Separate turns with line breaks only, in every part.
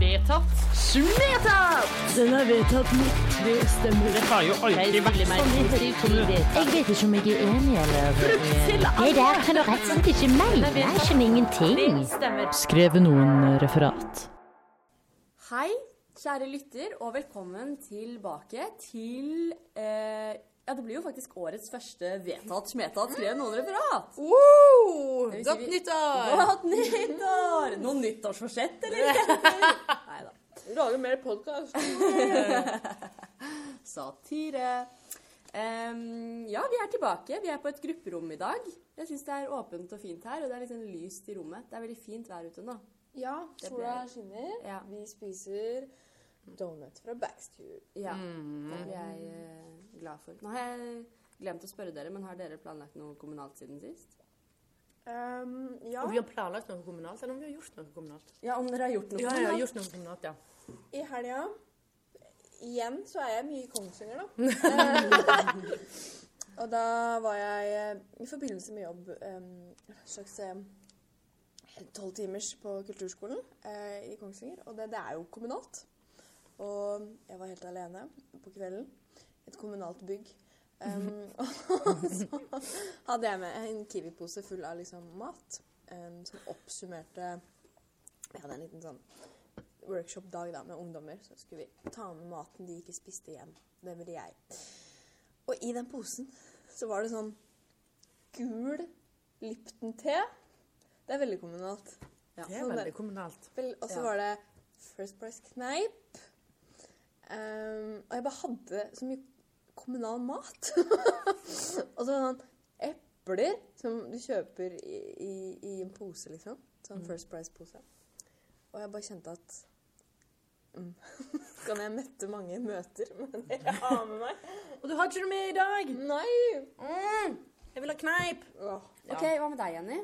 vedtatt.
Vedtatt!
Den er vedtatt med tre stemmer.
Det har jo alltid vært sånn i tidligere.
Jeg vet ikke om jeg er enig eller
til
Det der kan du rett og slett ikke mene. Det er ikke
Mm.
ingenting.
Stemmer.
Skrev noen eh, referat?
Hei, kjære lytter, og velkommen tilbake til eh, Ja, det blir jo faktisk årets første vedtatt smedtatt skrev noen referat.
Woo!
Det vil si
Godt
vi-
nyttår!
Godt nyttår! Noen nyttårsforsett, eller? Nei da.
Lager mer podkast.
Satire. Em, ja, vi er tilbake. Vi er på et grupperom i dag. Jeg syns det er åpent og fint her, og det er litt sånn lyst i rommet. Det er veldig fint vær ute nå.
Ja,
Det
sola
blir-
skinner.
Ja.
Vi spiser donut fra Backstube.
Ja,
Mm.
det blir jeg eh, glad for. Nå har jeg glemt å spørre dere, men har dere planlagt noe kommunalt siden sist?
Um, ja,
Om vi har planlagt noe kommunalt, eller om vi har gjort noe kommunalt.
Ja, om dere har gjort noe
Ja, jeg har gjort noe kommunalt, ja.
i helga Igjen så er jeg mye i Kongsvinger, da. Eh, og da var jeg eh, i forbindelse med jobb em, en slags eh, tolv timers på kulturskolen eh, i Kongsvinger. Og det, det er jo kommunalt. Og jeg var helt alene på kvelden. Et kommunalt bygg. Em, og så hadde jeg med en Kiwi-pose full av liksom mat em, som oppsummerte Vi hadde en liten sånn workshop-dag da, med ungdommer, så skulle vi ta med maten de ikke spiste hjem. Det ville jeg. Og i den posen så var det sånn gul Lipton-te. Det er veldig kommunalt.
Det er
Sånn
veldig kommunalt.
Vel, Og så
Ja.
var det First Price Kneip. Ehm, og jeg bare hadde så mye kommunal mat. og så sånn epler som du kjøper i, i, i en pose, liksom. Sånn First Price-pose. Og jeg bare kjente at mm. Kan jeg mette mange møter med det jeg har med meg?
Og du har ikke noe med i dag!
Nei!
Mm. Jeg vil ha kneip!
Åh.
Ok, hva med deg, Jenny?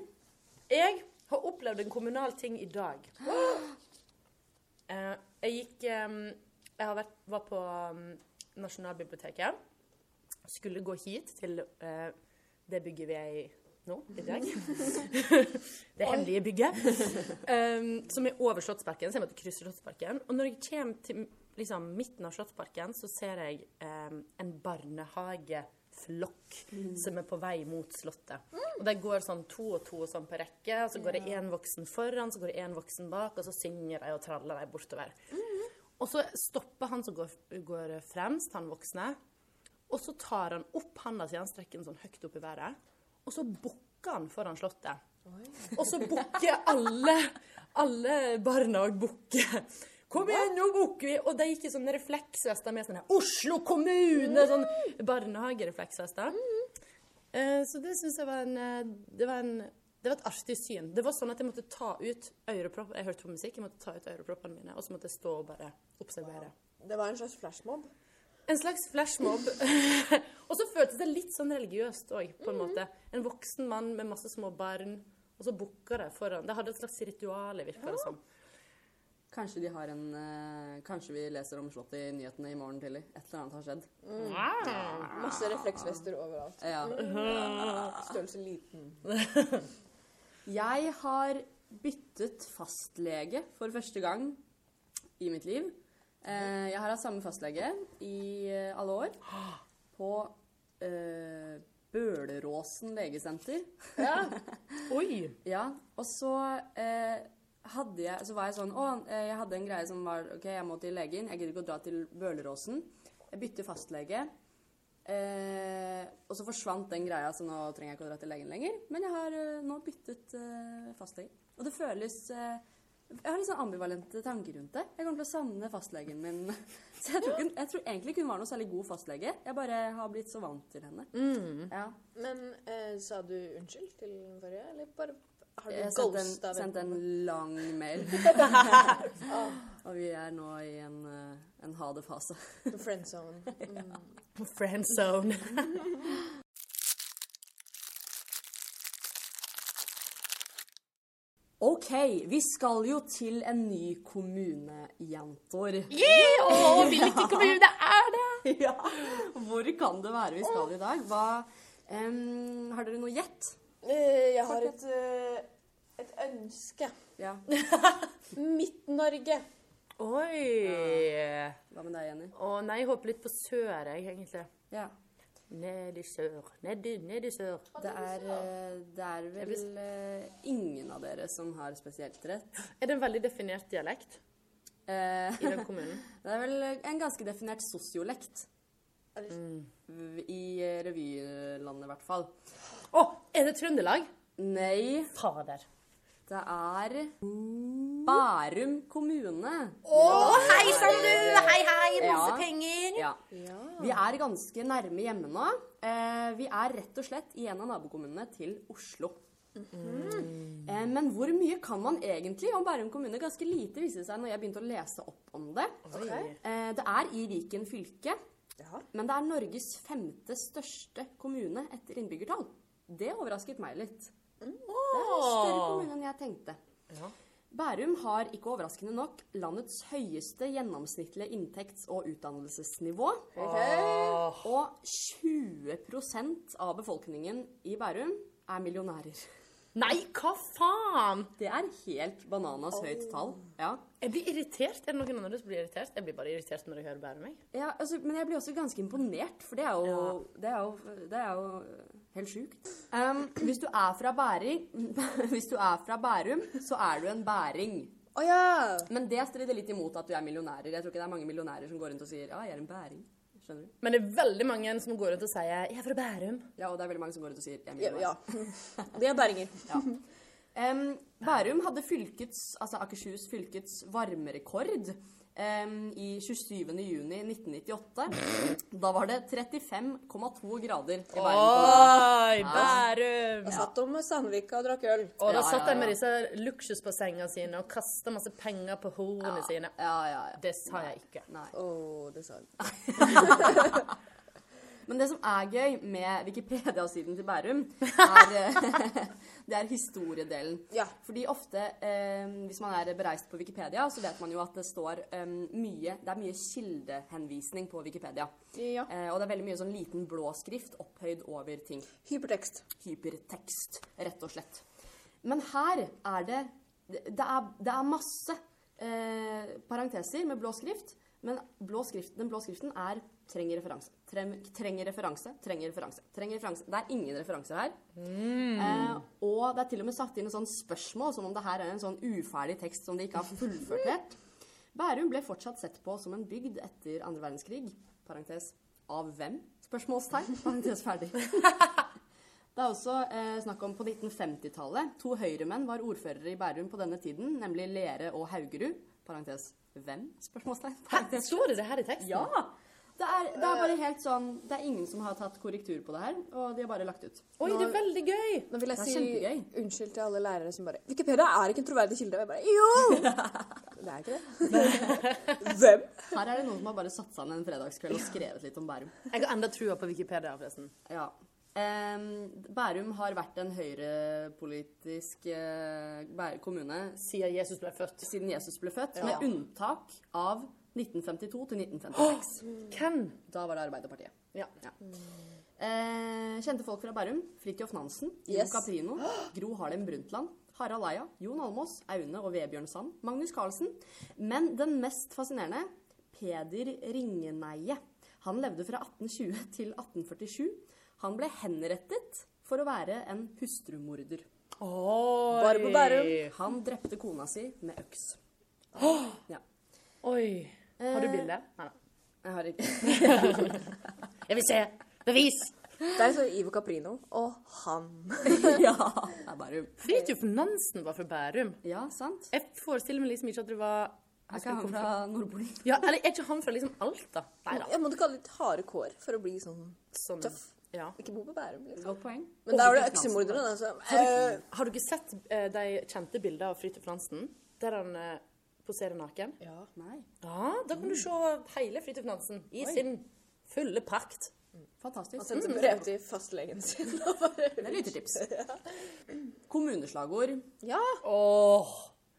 Jeg har opplevd en kommunal ting i dag. Eh, Jeg gikk eh, Jeg har vært, var på eh, Nasjonalbiblioteket. Skulle gå hit til eh, det bygget vi er i nå, i dag. det hemmelige bygget. eh, som er over Slottsparken, så jeg måtte krysse Slottsparken. Og når jeg kommer til liksom, midten av Slottsparken, så ser jeg eh, en barnehageflokk som er på vei mot Slottet. Og de går sånn to og to og sånn på rekke, og så går det én voksen foran, så går det én voksen bak, og så synger de og traller de bortover. Og så stopper han som går, går fremst, han voksne, og så tar han opp handa si, han strekker den sånn høyt opp i været, og så bukker han foran slottet. Og så bukker alle, alle barna og bukker. Kom igjen, nå bukker vi! Og de gikk i sånne sånn refleksvester med sånne Oslo kommune! Sånn barnehagerefleksvester. Eh, Så det syns jeg var en eh, Det var en det var et artig syn. Det var sånn at Jeg måtte ta ut øreproppene Jeg hørte på musikk, jeg måtte ta ut øreproppene mine, og så måtte jeg stå og bare observere.
Det var en slags flashmob.
En slags flashmob. og så føltes det litt sånn religiøst òg, på en måte. En voksen mann med masse små barn, og så bukka det foran. Det hadde et slags ritual, virka det som.
Kanskje de har en eh, Kanskje vi leser om Slottet i nyhetene i morgen tidlig. Et eller annet har skjedd.
Mm.
Masse refleksvester overalt.
Ja.
Størrelse liten.
Jeg har byttet fastlege for første gang i mitt liv. Eh, jeg har hatt samme fastlege i eh, alle år. På eh, Bøleråsen legesenter.
Oi!
Ja, og så eh, hadde jeg, så var jeg sånn, å, eh, jeg hadde en greie som var, ok, jeg må til legen, jeg gidder ikke å dra til Bøleråsen. Jeg bytter fastlege, eh, og så forsvant den greia, så nå trenger jeg ikke å dra til legen lenger. Men jeg har eh, nå byttet eh, fastlege. Og det føles, eh, jeg har litt sånn ambivalente tanker rundt det. Jeg kommer til å savne fastlegen min. Så jeg tror, ikke, hun- jeg tror egentlig ikke hun var noe særlig god fastlege. Jeg bare har blitt så vant til henne. Ja.
Men eh, sa du unnskyld til den forrige, eller bare har
Jeg
du
sendte en,
ghosta
sendte en
vedkommende?
lang mail.
Ah.
og vi er nå i en, eh, en ha det-fase.
The friend zone. Mm.
Friendzone.
OK, vi skal jo til en ny kommune, jenter.
Yeah! Å, hvilken kommune er det?
ja, hvor kan det være vi skal i dag? Hva, em, har dere noe gjett?
Eh, jeg har et, eh, et ønske.
Ja.
Midt-Norge.
Oi!
Hva med deg, Jenny?
Å nei, jeg håper litt på sør, jeg, egentlig.
Ja.
Ned i sør, ned i, ned i sør.
Det er, eh, det er vel eh, ingen av dere som har spesielt rett.
Er det en veldig definert dialekt
Eh,
i den kommunen?
Det er vel en ganske definert sosiolekt. V- I eh, revylandet, i hvert fall.
Å, er det Trøndelag?
Nei,
Fader.
det er Bærum kommune.
Å, hei sann, du! Hei, hei!
Ja.
penger!
Ja. Vi er ganske nærme hjemme nå. Eh, vi er rett og slett i en av nabokommunene til Oslo. Eh, men hvor mye kan man egentlig om Bærum kommune? Ganske lite viste det seg når jeg begynte å lese opp om det. Eh, det er i Viken fylke, men det er Norges femte største kommune etter innbyggertall. Det overrasket meg litt. Det er en større kommune enn jeg tenkte. Bærum har ikke overraskende nok landets høyeste gjennomsnittlige inntekts- og utdannelsesnivå. Og 20 av befolkningen i Bærum er millionærer.
Nei, hva faen!
Det er helt bananas høyt tall. Ja.
Jeg blir irritert. Er det noen andre som blir irritert? Jeg blir bare irritert når jeg hører Bærum. jeg.
Ja, altså, men jeg blir også ganske imponert, for det er jo, det er jo, det er jo eh, helt sjukt. Um, hvis, du er fra Bæring, hvis du er fra Bærum, så er du en bæring.
Å ja!
Men det strider litt imot at du er millionærer. Jeg tror ikke det er mange millionærer som går rundt og sier ja, jeg er en bæring. Skjønner du?
Men det er veldig mange som går rundt og sier 'jeg er fra Bærum'.
Ja, og det er veldig mange som går rundt og sier jeg er
Ja.
millionær.
ja. Det er bæringer.
Em, Bærum hadde fylkets, altså Akershus fylkets varmerekord em, i 27. juni 1998. Da var det 35,2 grader i Bærum. kommune.
Oi, Bærum!
Satt om Sandvika og drakk øl.
Og da
Ja, ja,
satt de med
ja.
disse luksusbassengene sine og kasta masse penger på hornene sine.
Ja, ja, ja.
Det sa jeg ikke.
Nei.
Å, det sa hun.
Men det som er gøy med Wikipedia-siden til Bærum, er, eh, det er historiedelen.
Ja.
Fordi ofte, eh, hvis man er bereist på Wikipedia, så vet man jo at det står eh, mye Det er mye kildehenvisning på Wikipedia.
Ja.
Eh, og det er veldig mye sånn liten blå skrift opphøyd over ting.
Hypertekst.
Hypertekst, rett og slett. Men her er det Det er, det er masse eh, parenteser med blå skrift, men blå skrift, den blå skriften er trenger referanse. Trem, trenger referanse, trenger referanse. trenger referanse. Det er ingen referanse her. Eh, og det er til og med satt inn et sånt spørsmål, som om det her er en sånn uferdig tekst som de ikke har fullført helt. Bærum ble fortsatt sett på som en bygd etter andre verdenskrig. Parentes av hvem? Spørsmålstegn. Parentes ferdig. Det er også eh, snakk om på 1950-tallet. To høyremenn var ordførere i Bærum på denne tiden, nemlig Lere og Haugerud. Parentes hvem? Spørsmålstegn.
Hæ?
Parentes
Står det det her i teksten?
ja! Det er, det er bare helt sånn Det er ingen som har tatt korrektur på det her, og de har bare lagt ut.
Oi, det er veldig gøy!
Nå vil jeg
Det er
si
kjempegøy.
unnskyld til alle lærere som bare Wikipedia er ikke en troverdig kilde. Og jeg bare jo! Det er ikke det. Hvem?
Her er det noen som har bare satt sammen en fredagskveld og skrevet litt om Bærum.
Jeg har enda trua på Wikipedia, forresten.
Ja. Em, Bærum har vært en høyrepolitisk eh, Bæ- kommune
Siden Jesus ble født.
siden Jesus ble født, med unntak av 1952 til 1956.
Hvem?
Da var det Arbeiderpartiet.
Ja.
Ja. Eh, kjente folk fra Bærum. Fridtjof Nansen, Jon
Yes.
Caprino, Gro Harlem Brundtland, Harald Eia, Jon Almås, Aune og Vebjørn Sand, Magnus Carlsen. Men den mest fascinerende, Peder Ringeneie. Han levde fra 1820 til 1847. Han ble henrettet for å være en hustrumorder.
Oi.
Bare på Bærum.
Han drepte kona si med øks. Ja.
Oi. Har du bilde? Nei, nei.
Jeg har ikke
Jeg vil se! Bevis!
Der står Ivo Caprino og han.
Ja, det er Bærum.
Fridtjof Nansen var fra Bærum.
Ja, sant?
Jeg forestiller meg liksom ikke at det var
Er ikke han fra Nordpolen?
Ja, eller er ikke han fra liksom Alta? Nei da.
Jeg måtte kalle litt harde kår for å bli sånn
Sånn.
tøff.
Ja.
Ikke bo på Bærum. Liksom.
Godt poeng.
Men der var det øksemordere, da. Så, eh,
Har du ikke sett eh, de kjente bildene av Fridtjof Nansen? Der han eh, poserer naken? Ja.
Nei.
Da kan du se hele Fridtjof Nansen i sin fulle prakt.
han
Fantastisk.
sendte brev til fastlegen sin og bare
Det er lyttertips. Kommuneslagord
Ja!
Åh!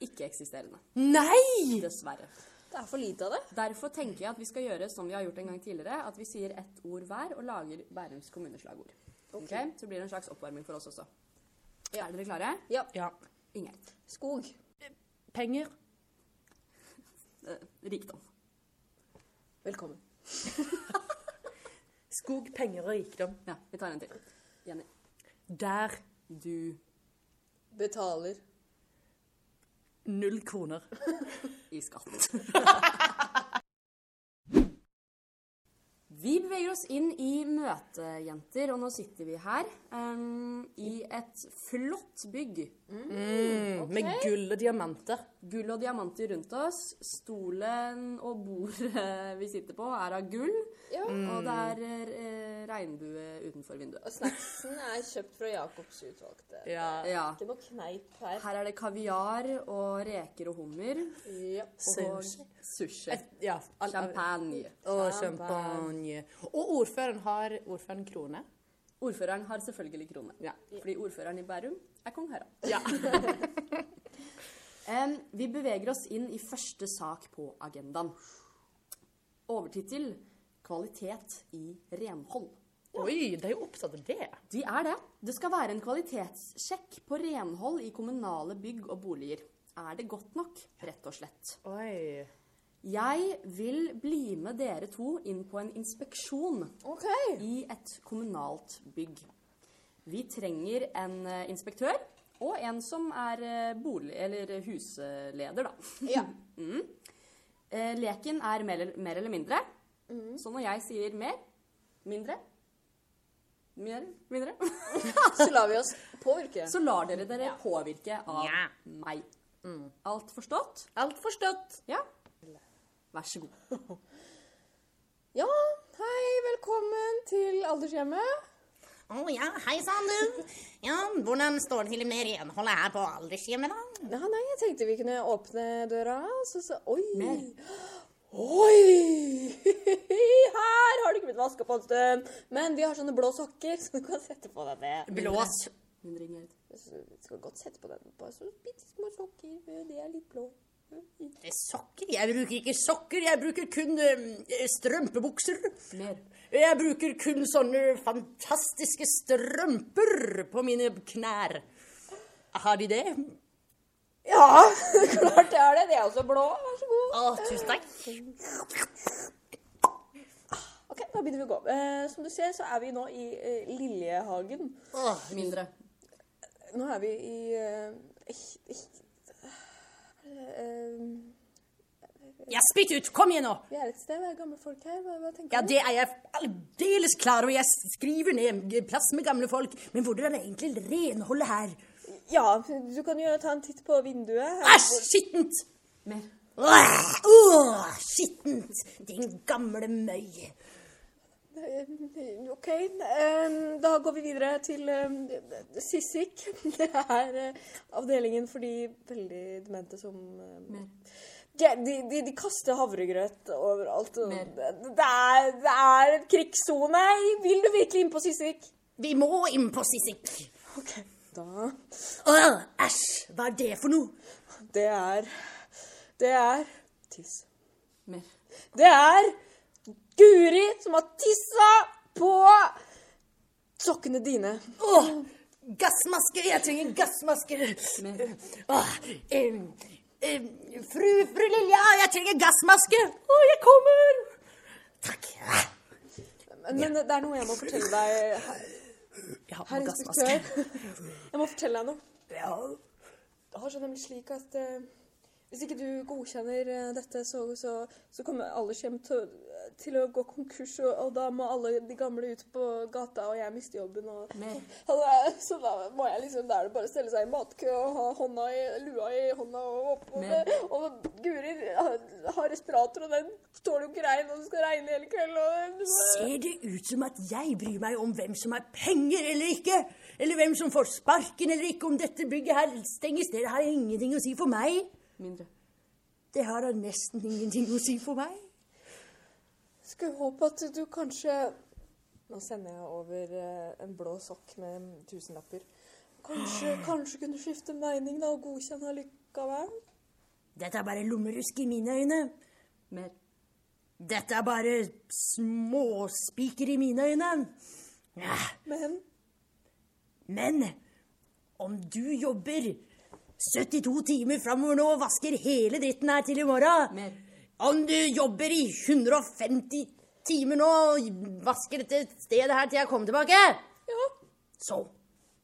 ikke-eksisterende.
Nei!
Dessverre.
Det er for lite av det.
Derfor tenker jeg at vi skal gjøre som vi har gjort en gang tidligere, at vi sier ett ord hver og lager Bærums kommuneslagord. Ok? Så blir det en slags oppvarming for oss også. Er dere klare?
Ja.
Ja.
Ingjerd.
Skog.
Penger.
eh, rikdom.
Velkommen.
Skog, penger og rikdom.
Ja, vi tar en til. Jenny.
Der
Du
Betaler.
null kroner.
i skatt. Vi beveger oss inn i møtejenter, og nå sitter vi her em, i et flott bygg.
Mm, Med gull og diamanter.
Gull og diamanter rundt oss. Stolen og bordet vi sitter på, er av gull.
Ja.
Og det er eh, regnbue utenfor vinduet.
Mm. Og snacksen er kjøpt fra Jacobs utvalgte.
Ja.
Ikke noe kneip her.
Her er det kaviar og reker og hummer.
Ja.
Og
Sushi.
sushi.
Ja, all-
Champagne.
Og champagne. Og ordføreren har ordføreren krone.
Ordføreren har selvfølgelig krone.
Ja.
Fordi ordføreren i Bærum er kong Harald.
Ja.
Em, vi beveger oss inn i første sak på agendaen. Overtittel 'Kvalitet i renhold'.
Oi, de er jo opptatt av det.
De er det. Det skal være en kvalitetssjekk på renhold i kommunale bygg og boliger. Er det godt nok, rett og slett?
Oi.
Jeg vil bli med dere to inn på en inspeksjon
OK.
i et kommunalt bygg. Vi trenger en eh, inspektør og en som er eh, bolig- eller husleder, da.
Ja.
Eh, Leken er mer, eller- mer eller mindre. Så når jeg sier mer, mindre, mer, mindre,
Så lar vi oss påvirke.
så lar dere dere påvirke av meg. Alt forstått?
Alt forstått.
Ja. Vær så god.
Ja, hei, velkommen til aldershjemmet.
Å ja, hei sann, du. Ja, hvordan står det til med renholdet her på aldershjemmet, da?
Ja, nei, jeg tenkte vi kunne åpne døra, og så så Oi!
Mer.
Oi! Her har det ikke blitt vaska på en stund. Men vi har sånne blå sokker, så du kan sette på deg det.
Blås.
Mindre, Ingrid.
Så Du skal godt sette på den. Bare så bitte små sokker. De er litt blå.
Det er sokker? Jeg bruker ikke sokker, jeg bruker kun eh, strømpebukser.
Mer.
Jeg bruker kun sånne fantastiske strømper på mine knær. Har de det?
Ja, klart det er det. De er også blå. Vær så god.
Å, tusen takk.
Ok, da begynner vi å gå. Eh, som du ser, så er vi nå i eh, Lillehagen.
Å,
Mindre.
Nå er vi i eh, ich- ich- eh,
ja, spytt ut! Kom igjen, nå!
Vi er et sted, det er gamle folk her. Hva, hva tenker
Ja,
du?
det er jeg aldeles klar over. Jeg skriver ned plass med gamle folk. Men hvordan er egentlig renholdet her?
Ja, du kan jo ta en titt på vinduet. her.
Æsj, skittent!
Mer.
Åh, åh, skittent! Din gamle møy.
Eh, OK, eh, da går vi videre til eh, Sissik. Det er eh, avdelingen for de veldig demente som eh, de, de, de, de kaster havregrøt overalt. og
Mer.
Det, det, er, det er en krigssone. Vil du virkelig inn på Sissik?
Vi må inn på Sissik.
OK, da
Åh, æsj, hva er det for noe?
Det er Det er tiss.
Mer.
Det er Guri som har tissa på sokkene dine.
Åh, gassmasker, jeg trenger gassmasker. Åh, em, em, fru, fru Lilja, jeg trenger gassmaske. Åh, jeg kommer. Takk. Ah,
Men, men det er noe jeg må fortelle deg, herr-
Jeg har på
herr
meg
inspektør.
gassmaske.
Jeg må fortelle deg noe.
Ja.
Det har seg nemlig slik at eh, hvis ikke du godkjenner eh, dette, så, så, så kommer alle hjem til, til å gå konkurs, og, og da må alle de gamle ut på gata, og jeg mister jobben. Og,
Mer.
og da, så da må jeg liksom, da er det bare å stelle seg i matkø og ha hånda i, lua i hånda og oppå det.
Men-
Og Guri har- har respirator, og den tåler jo ikke regn, og det skal regne hele kvelden. Og,
Ser det ut som at jeg bryr meg om hvem som har penger eller ikke? Eller hvem som får sparken eller ikke om dette bygget her stenges? Det har ingenting å si for meg.
Mindre.
Det har da nesten ingenting å si for meg.
Skal jo håpe at du kanskje Nå sender jeg over eh, en blå sokk med tusenlapper. Kanskje, kanskje kunne skifte mening da og godkjenne likevel?
Dette er bare lommerusk i mine øyne.
Mer.
Dette er bare småspiker i mine øyne. Ah. Ja,
Men
Men om du jobber 72 timer framover nå og vasker hele dritten her til i morgen
Mer.
Om du jobber i 150 timer nå og vasker dette stedet her til jeg kommer tilbake, så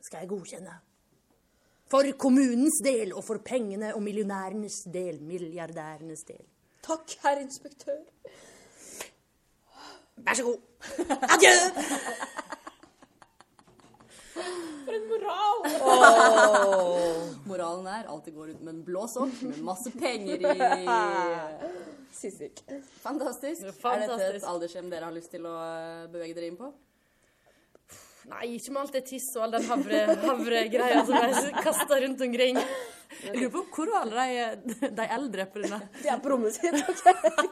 skal jeg godkjenne. For kommunens del, og for pengene og millionærenes del, milliardærenes del.
Takk, herr inspektør.
Vær så god. Adjø!
Moralen er alltid gå rundt med en blå sokk med masse penger i.
Sissik.
Fantastisk. Er dette et
Fantastisk.
aldershjem dere har lyst til å eh, bevege dere inn på?
Nei, ikke med alt det tiss og all den havre- havregreia som jeg kaster rundt omkring.
Jeg lurer på hvor var alle de, eldre på denne
Det er på rommet sitt. ok?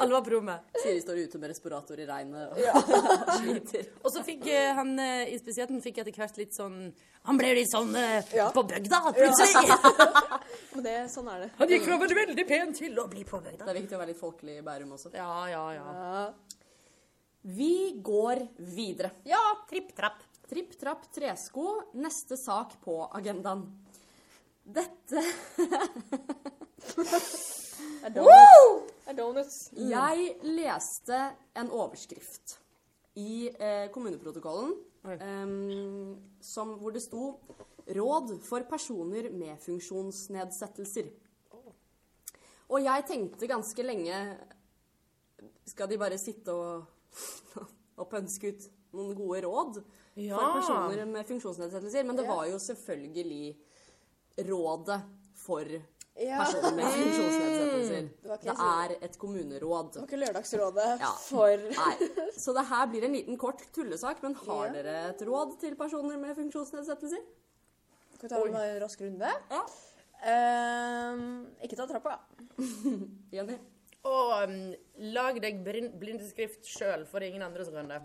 Alle var på rommet.
Siri står ute med respirator i regnet og sliter.
Og så fikk eh, han eh, i spesieten fikk etter hvert litt sånn Han ble litt sånn eh, på bygda, plutselig.
Men det, sånn er det.
Han gikk fra å være veldig pen til å bli på
Det
bygda.
er viktig å være litt folkelig i Bærum også.
Ja, ja, ja.
Vi går videre.
Ja, tripp trapp.
Tripp, trapp, tresko. Neste sak på agendaen. Dette
Det er donuts. Det er donuts.
Jeg leste en overskrift i eh, kommuneprotokollen em, som, hvor det sto 'Råd for personer med funksjonsnedsettelser'. Og jeg tenkte ganske lenge Skal de bare sitte og, og pønske ut noen gode råd for
Ja.
personer med funksjonsnedsettelser? Men det var jo selvfølgelig rådet for
Ja. Mm.
personer med funksjonsnedsettelser.
Det var ikke
Det
så-
er et kommuneråd.
Det var ikke Lørdagsrådet
Ja.
for
Nei. Så det her blir en liten kort tullesak, men har dere et råd til personer med funksjonsnedsettelser?
Skal vi ta en rask runde?
Ja.
Ehm, ikke ta trappa.
Jenny?
Og mm, lag deg brin- blindeskrift sjøl, for det er ingen andre som kan det.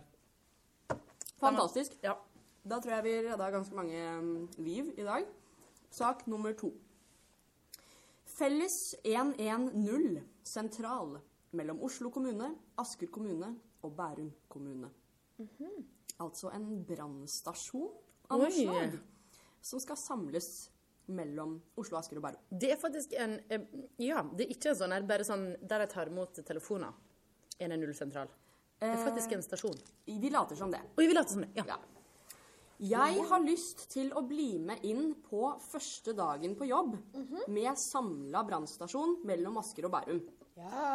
Fantastisk.
Ja.
Da tror jeg vi redda ganske mange mm, liv i dag. Sak nummer to. Felles 110 sentral mellom Oslo kommune, Asker kommune og Bærum kommune. Altså en brannstasjon av noe
Oi.
slag som skal samles mellom Oslo, Asker og Bærum.
Det er faktisk en eh, Ja, det er ikke en sånn, det er bare sånn der jeg tar imot telefoner. 110-sentral. Det er faktisk en stasjon.
Vi later som det.
Og jeg vil late som
sånn,
det. Ja.
Ja. Jeg har lyst til å bli med inn på første dagen på jobb med samla brannstasjon mellom Asker og Bærum.
Ja.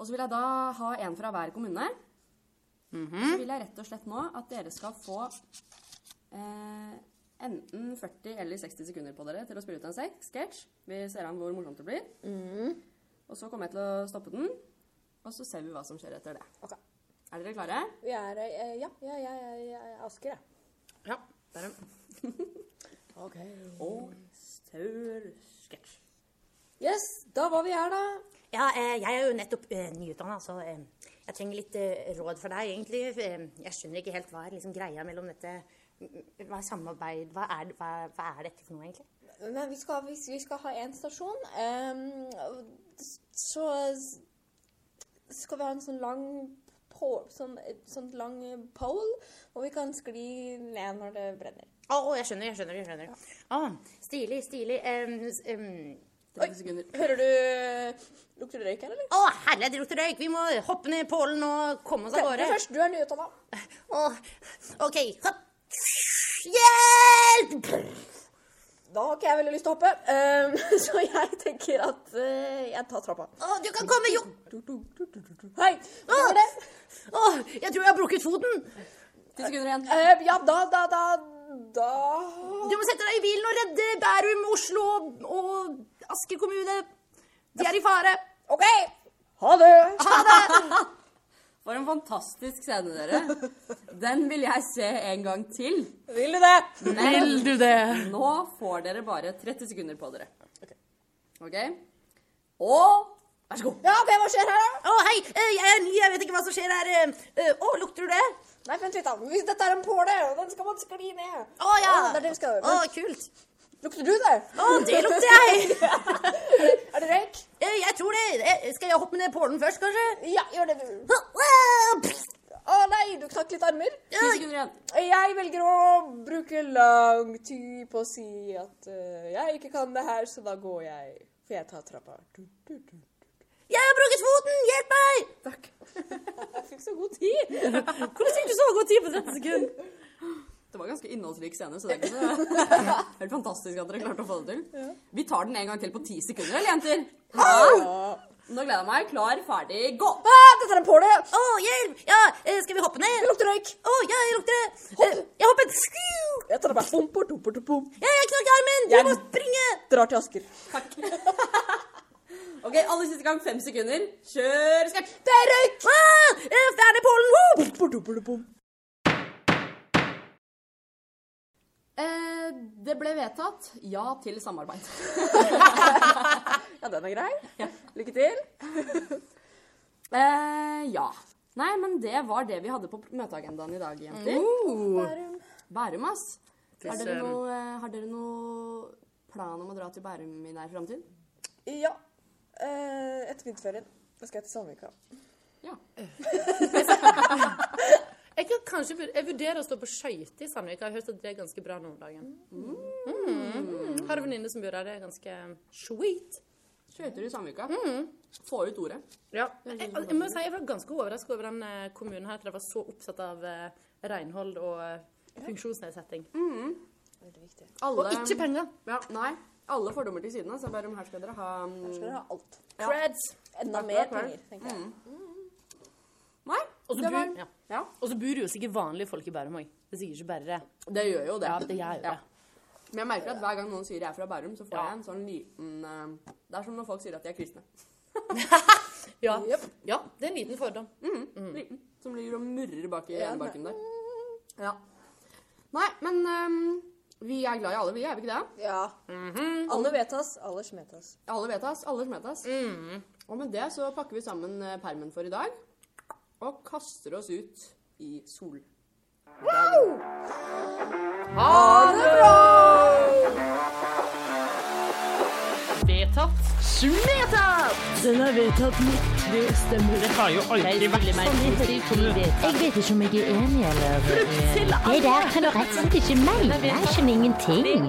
Og så vil jeg da ha en fra hver kommune. Så vil jeg rett og slett nå at dere skal få eh, enten 40 eller 60 sekunder på dere til å spille ut en sek- sketsj. Vi ser an hvor morsomt det blir. Og så kommer jeg til å stoppe den, og så ser vi hva som skjer etter det.
Ok.
Er dere klare?
Vi er eh, Ja, ja, ja, ja, ja, ja Asker, jeg.
ja. Der er den.
Ok.
Og staur sketsj.
Yes, da var vi her, da.
Ja, eh, jeg er jo nettopp eh, nyutdanna, så eh, jeg trenger litt eh, råd fra deg, egentlig. Eh, Jeg skjønner ikke helt hva er liksom, greia mellom dette Hva er samarbeid Hva er, hva, hva er dette for noe, egentlig?
Nei, vi skal, vi, vi skal ha én stasjon. ehm, så s- skal vi ha en sånn lang på, sånn, sånn lang pole, og vi kan skli ned når det brenner.
Å, jeg skjønner, jeg skjønner. jeg skjønner. Å, stilig, stilig. Em, s- em,
30 sekunder.
Hører du Lukter det røyk her, eller?
Å, herlighet, det lukter røyk! Vi må hoppe ned i pålen og komme oss av
Prøv det
gårde.
først. Du er nyutdanna.
Å, OK. Hopp. Hjelp!
Da har ikke jeg veldig lyst til å hoppe, ehm, så jeg tenker at eh, jeg tar trappa.
Å, du kan komme, jo!
Hei! Hva var det?
Å, jeg tror jeg har brukket foten!
10 sekunder igjen.
Eh, ja, da, da, da, da
Du må sette deg i bilen og redde Bærum, Oslo og- og Asker kommune. De er i fare.
OK! Ha det!
For en fantastisk scene, dere. Den vil jeg se en gang til.
Vil du det?
Men
Vil du det?
nå får dere bare 30 sekunder på dere. OK? Og vær så god.
Ja, OK, hva skjer her, da?
Å, hei, eh, jeg er ny, jeg vet ikke hva som skjer her. eh, eh, Å, lukter du det?
Nei, vent litt, da. Hvis dette er en påle, og den skal man skli ned.
Å, ja.
Å, det er det vi skal gjøre.
Å, kult.
Lukter du det?
Å, det lukter jeg.
Er det røyk?
Eh, Jeg tror det. Eh, Skal jeg hoppe ned pålen først, kanskje?
Ja, gjør det, du.
Å, å, pst.
Å nei, du knakk litt armer.
10 sekunder igjen.
Jeg velger å bruke lang tid på å si at eh, jeg ikke kan det her, så da går jeg. For jeg tar trappa. Du, du, du.
Jeg har brukket foten! Hjelp meg!
Takk. Jeg fikk så god tid! Hvordan fikk du så god tid på 30 sekunder? Det var en ganske innholdsrik scene, så det er ikke så Helt fantastisk at dere klarte å få det til. Vi tar den en gang til på 10 sekunder, eller jenter? Nå gleder jeg meg. Klar, ferdig, gå!
Ah, dette er en påle!
Å, hjelp! Ja, eh, skal vi hoppe ned? Det lukter røyk. Å, ja, jeg lukter Hopp. Jeg hoppet. Skru!
Jeg tar det bare pumper, pumper, pumper.
Ja, jeg knakk armen! Vi
Jeg-
må springe!
Drar til Asker.
Takk. OK, aller siste gang. Fem sekunder. Kjør sketsj!
Det er røyk! Ah, eh, Fjerne pollen! Woo!
Pumper, pumper, pumper.
Eh, det ble vedtatt ja til samarbeid.
Ja, den er grei. Lykke til.
Eh, ja. Nei, men det var det vi hadde på møteagendaen i dag, jenter.
Mm.
Bærum, ass. Har dere,
søren.
noe, eh, har dere noe plan om å dra til Bærum i nær framtid?
Ja. Eh, etter vinterferien. Da skal jeg til Sandvika.
Ja.
Jeg, kan kanskje, vur- jeg vurderer å stå på skøyter i Sandvik. Jeg har hørt at det er ganske bra nå om dagen. Mm. Har en venninne som bor der. Det er ganske sweet.
Skøyter i Sandvika.
Mm-hmm.
Få ut ordet.
Ja. Jeg, jeg må si jeg var ganske overrasket over den eh, kommunen her, at de var så opptatt av eh, renhold og eh, funksjonsnedsetting.
Alle,
Og ikke penger!
ja, nei, alle fordommer til siden. Så Bærum, her skal dere ha mm,
Skal dere ha alt.
Creds!
Enda
Takk,
mer
takk, takk.
penger, tenker jeg.
Nei,
Og så
det
bor-
var
ja.
Ja,
Og så bor det jo sikkert vanlige folk i Bærum òg. Det er sikkert ikke bare
det gjør jo det.
Ja, det gjør jo det.
Men jeg merker at hver gang noen sier jeg er fra Bærum, så får
Ja.
jeg en sånn liten eh, Det er som når folk sier at de er kristne.
Ja. ja, det er en liten fordom. Mm.
Liten, som ligger og murrer bak i enebaken der. Ja. Nei, men ehm, vi er glad i alle, vi, er vi ikke det?
Ja. Alle vedtas, alle smetas.
Alle vedtas, alle smetas. Og med det så pakker vi sammen eh, permen for i dag, og kaster oss ut i sol.
Vedtatt. Smetat! Den er vedtatt med tre stemmer. Det har jo aldri vært
Jeg vet ikke om jeg er enig eller Det der kan du rett og slett ikke mene. Jeg skjønner ingenting.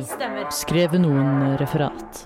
Skrevet noen eh, referat.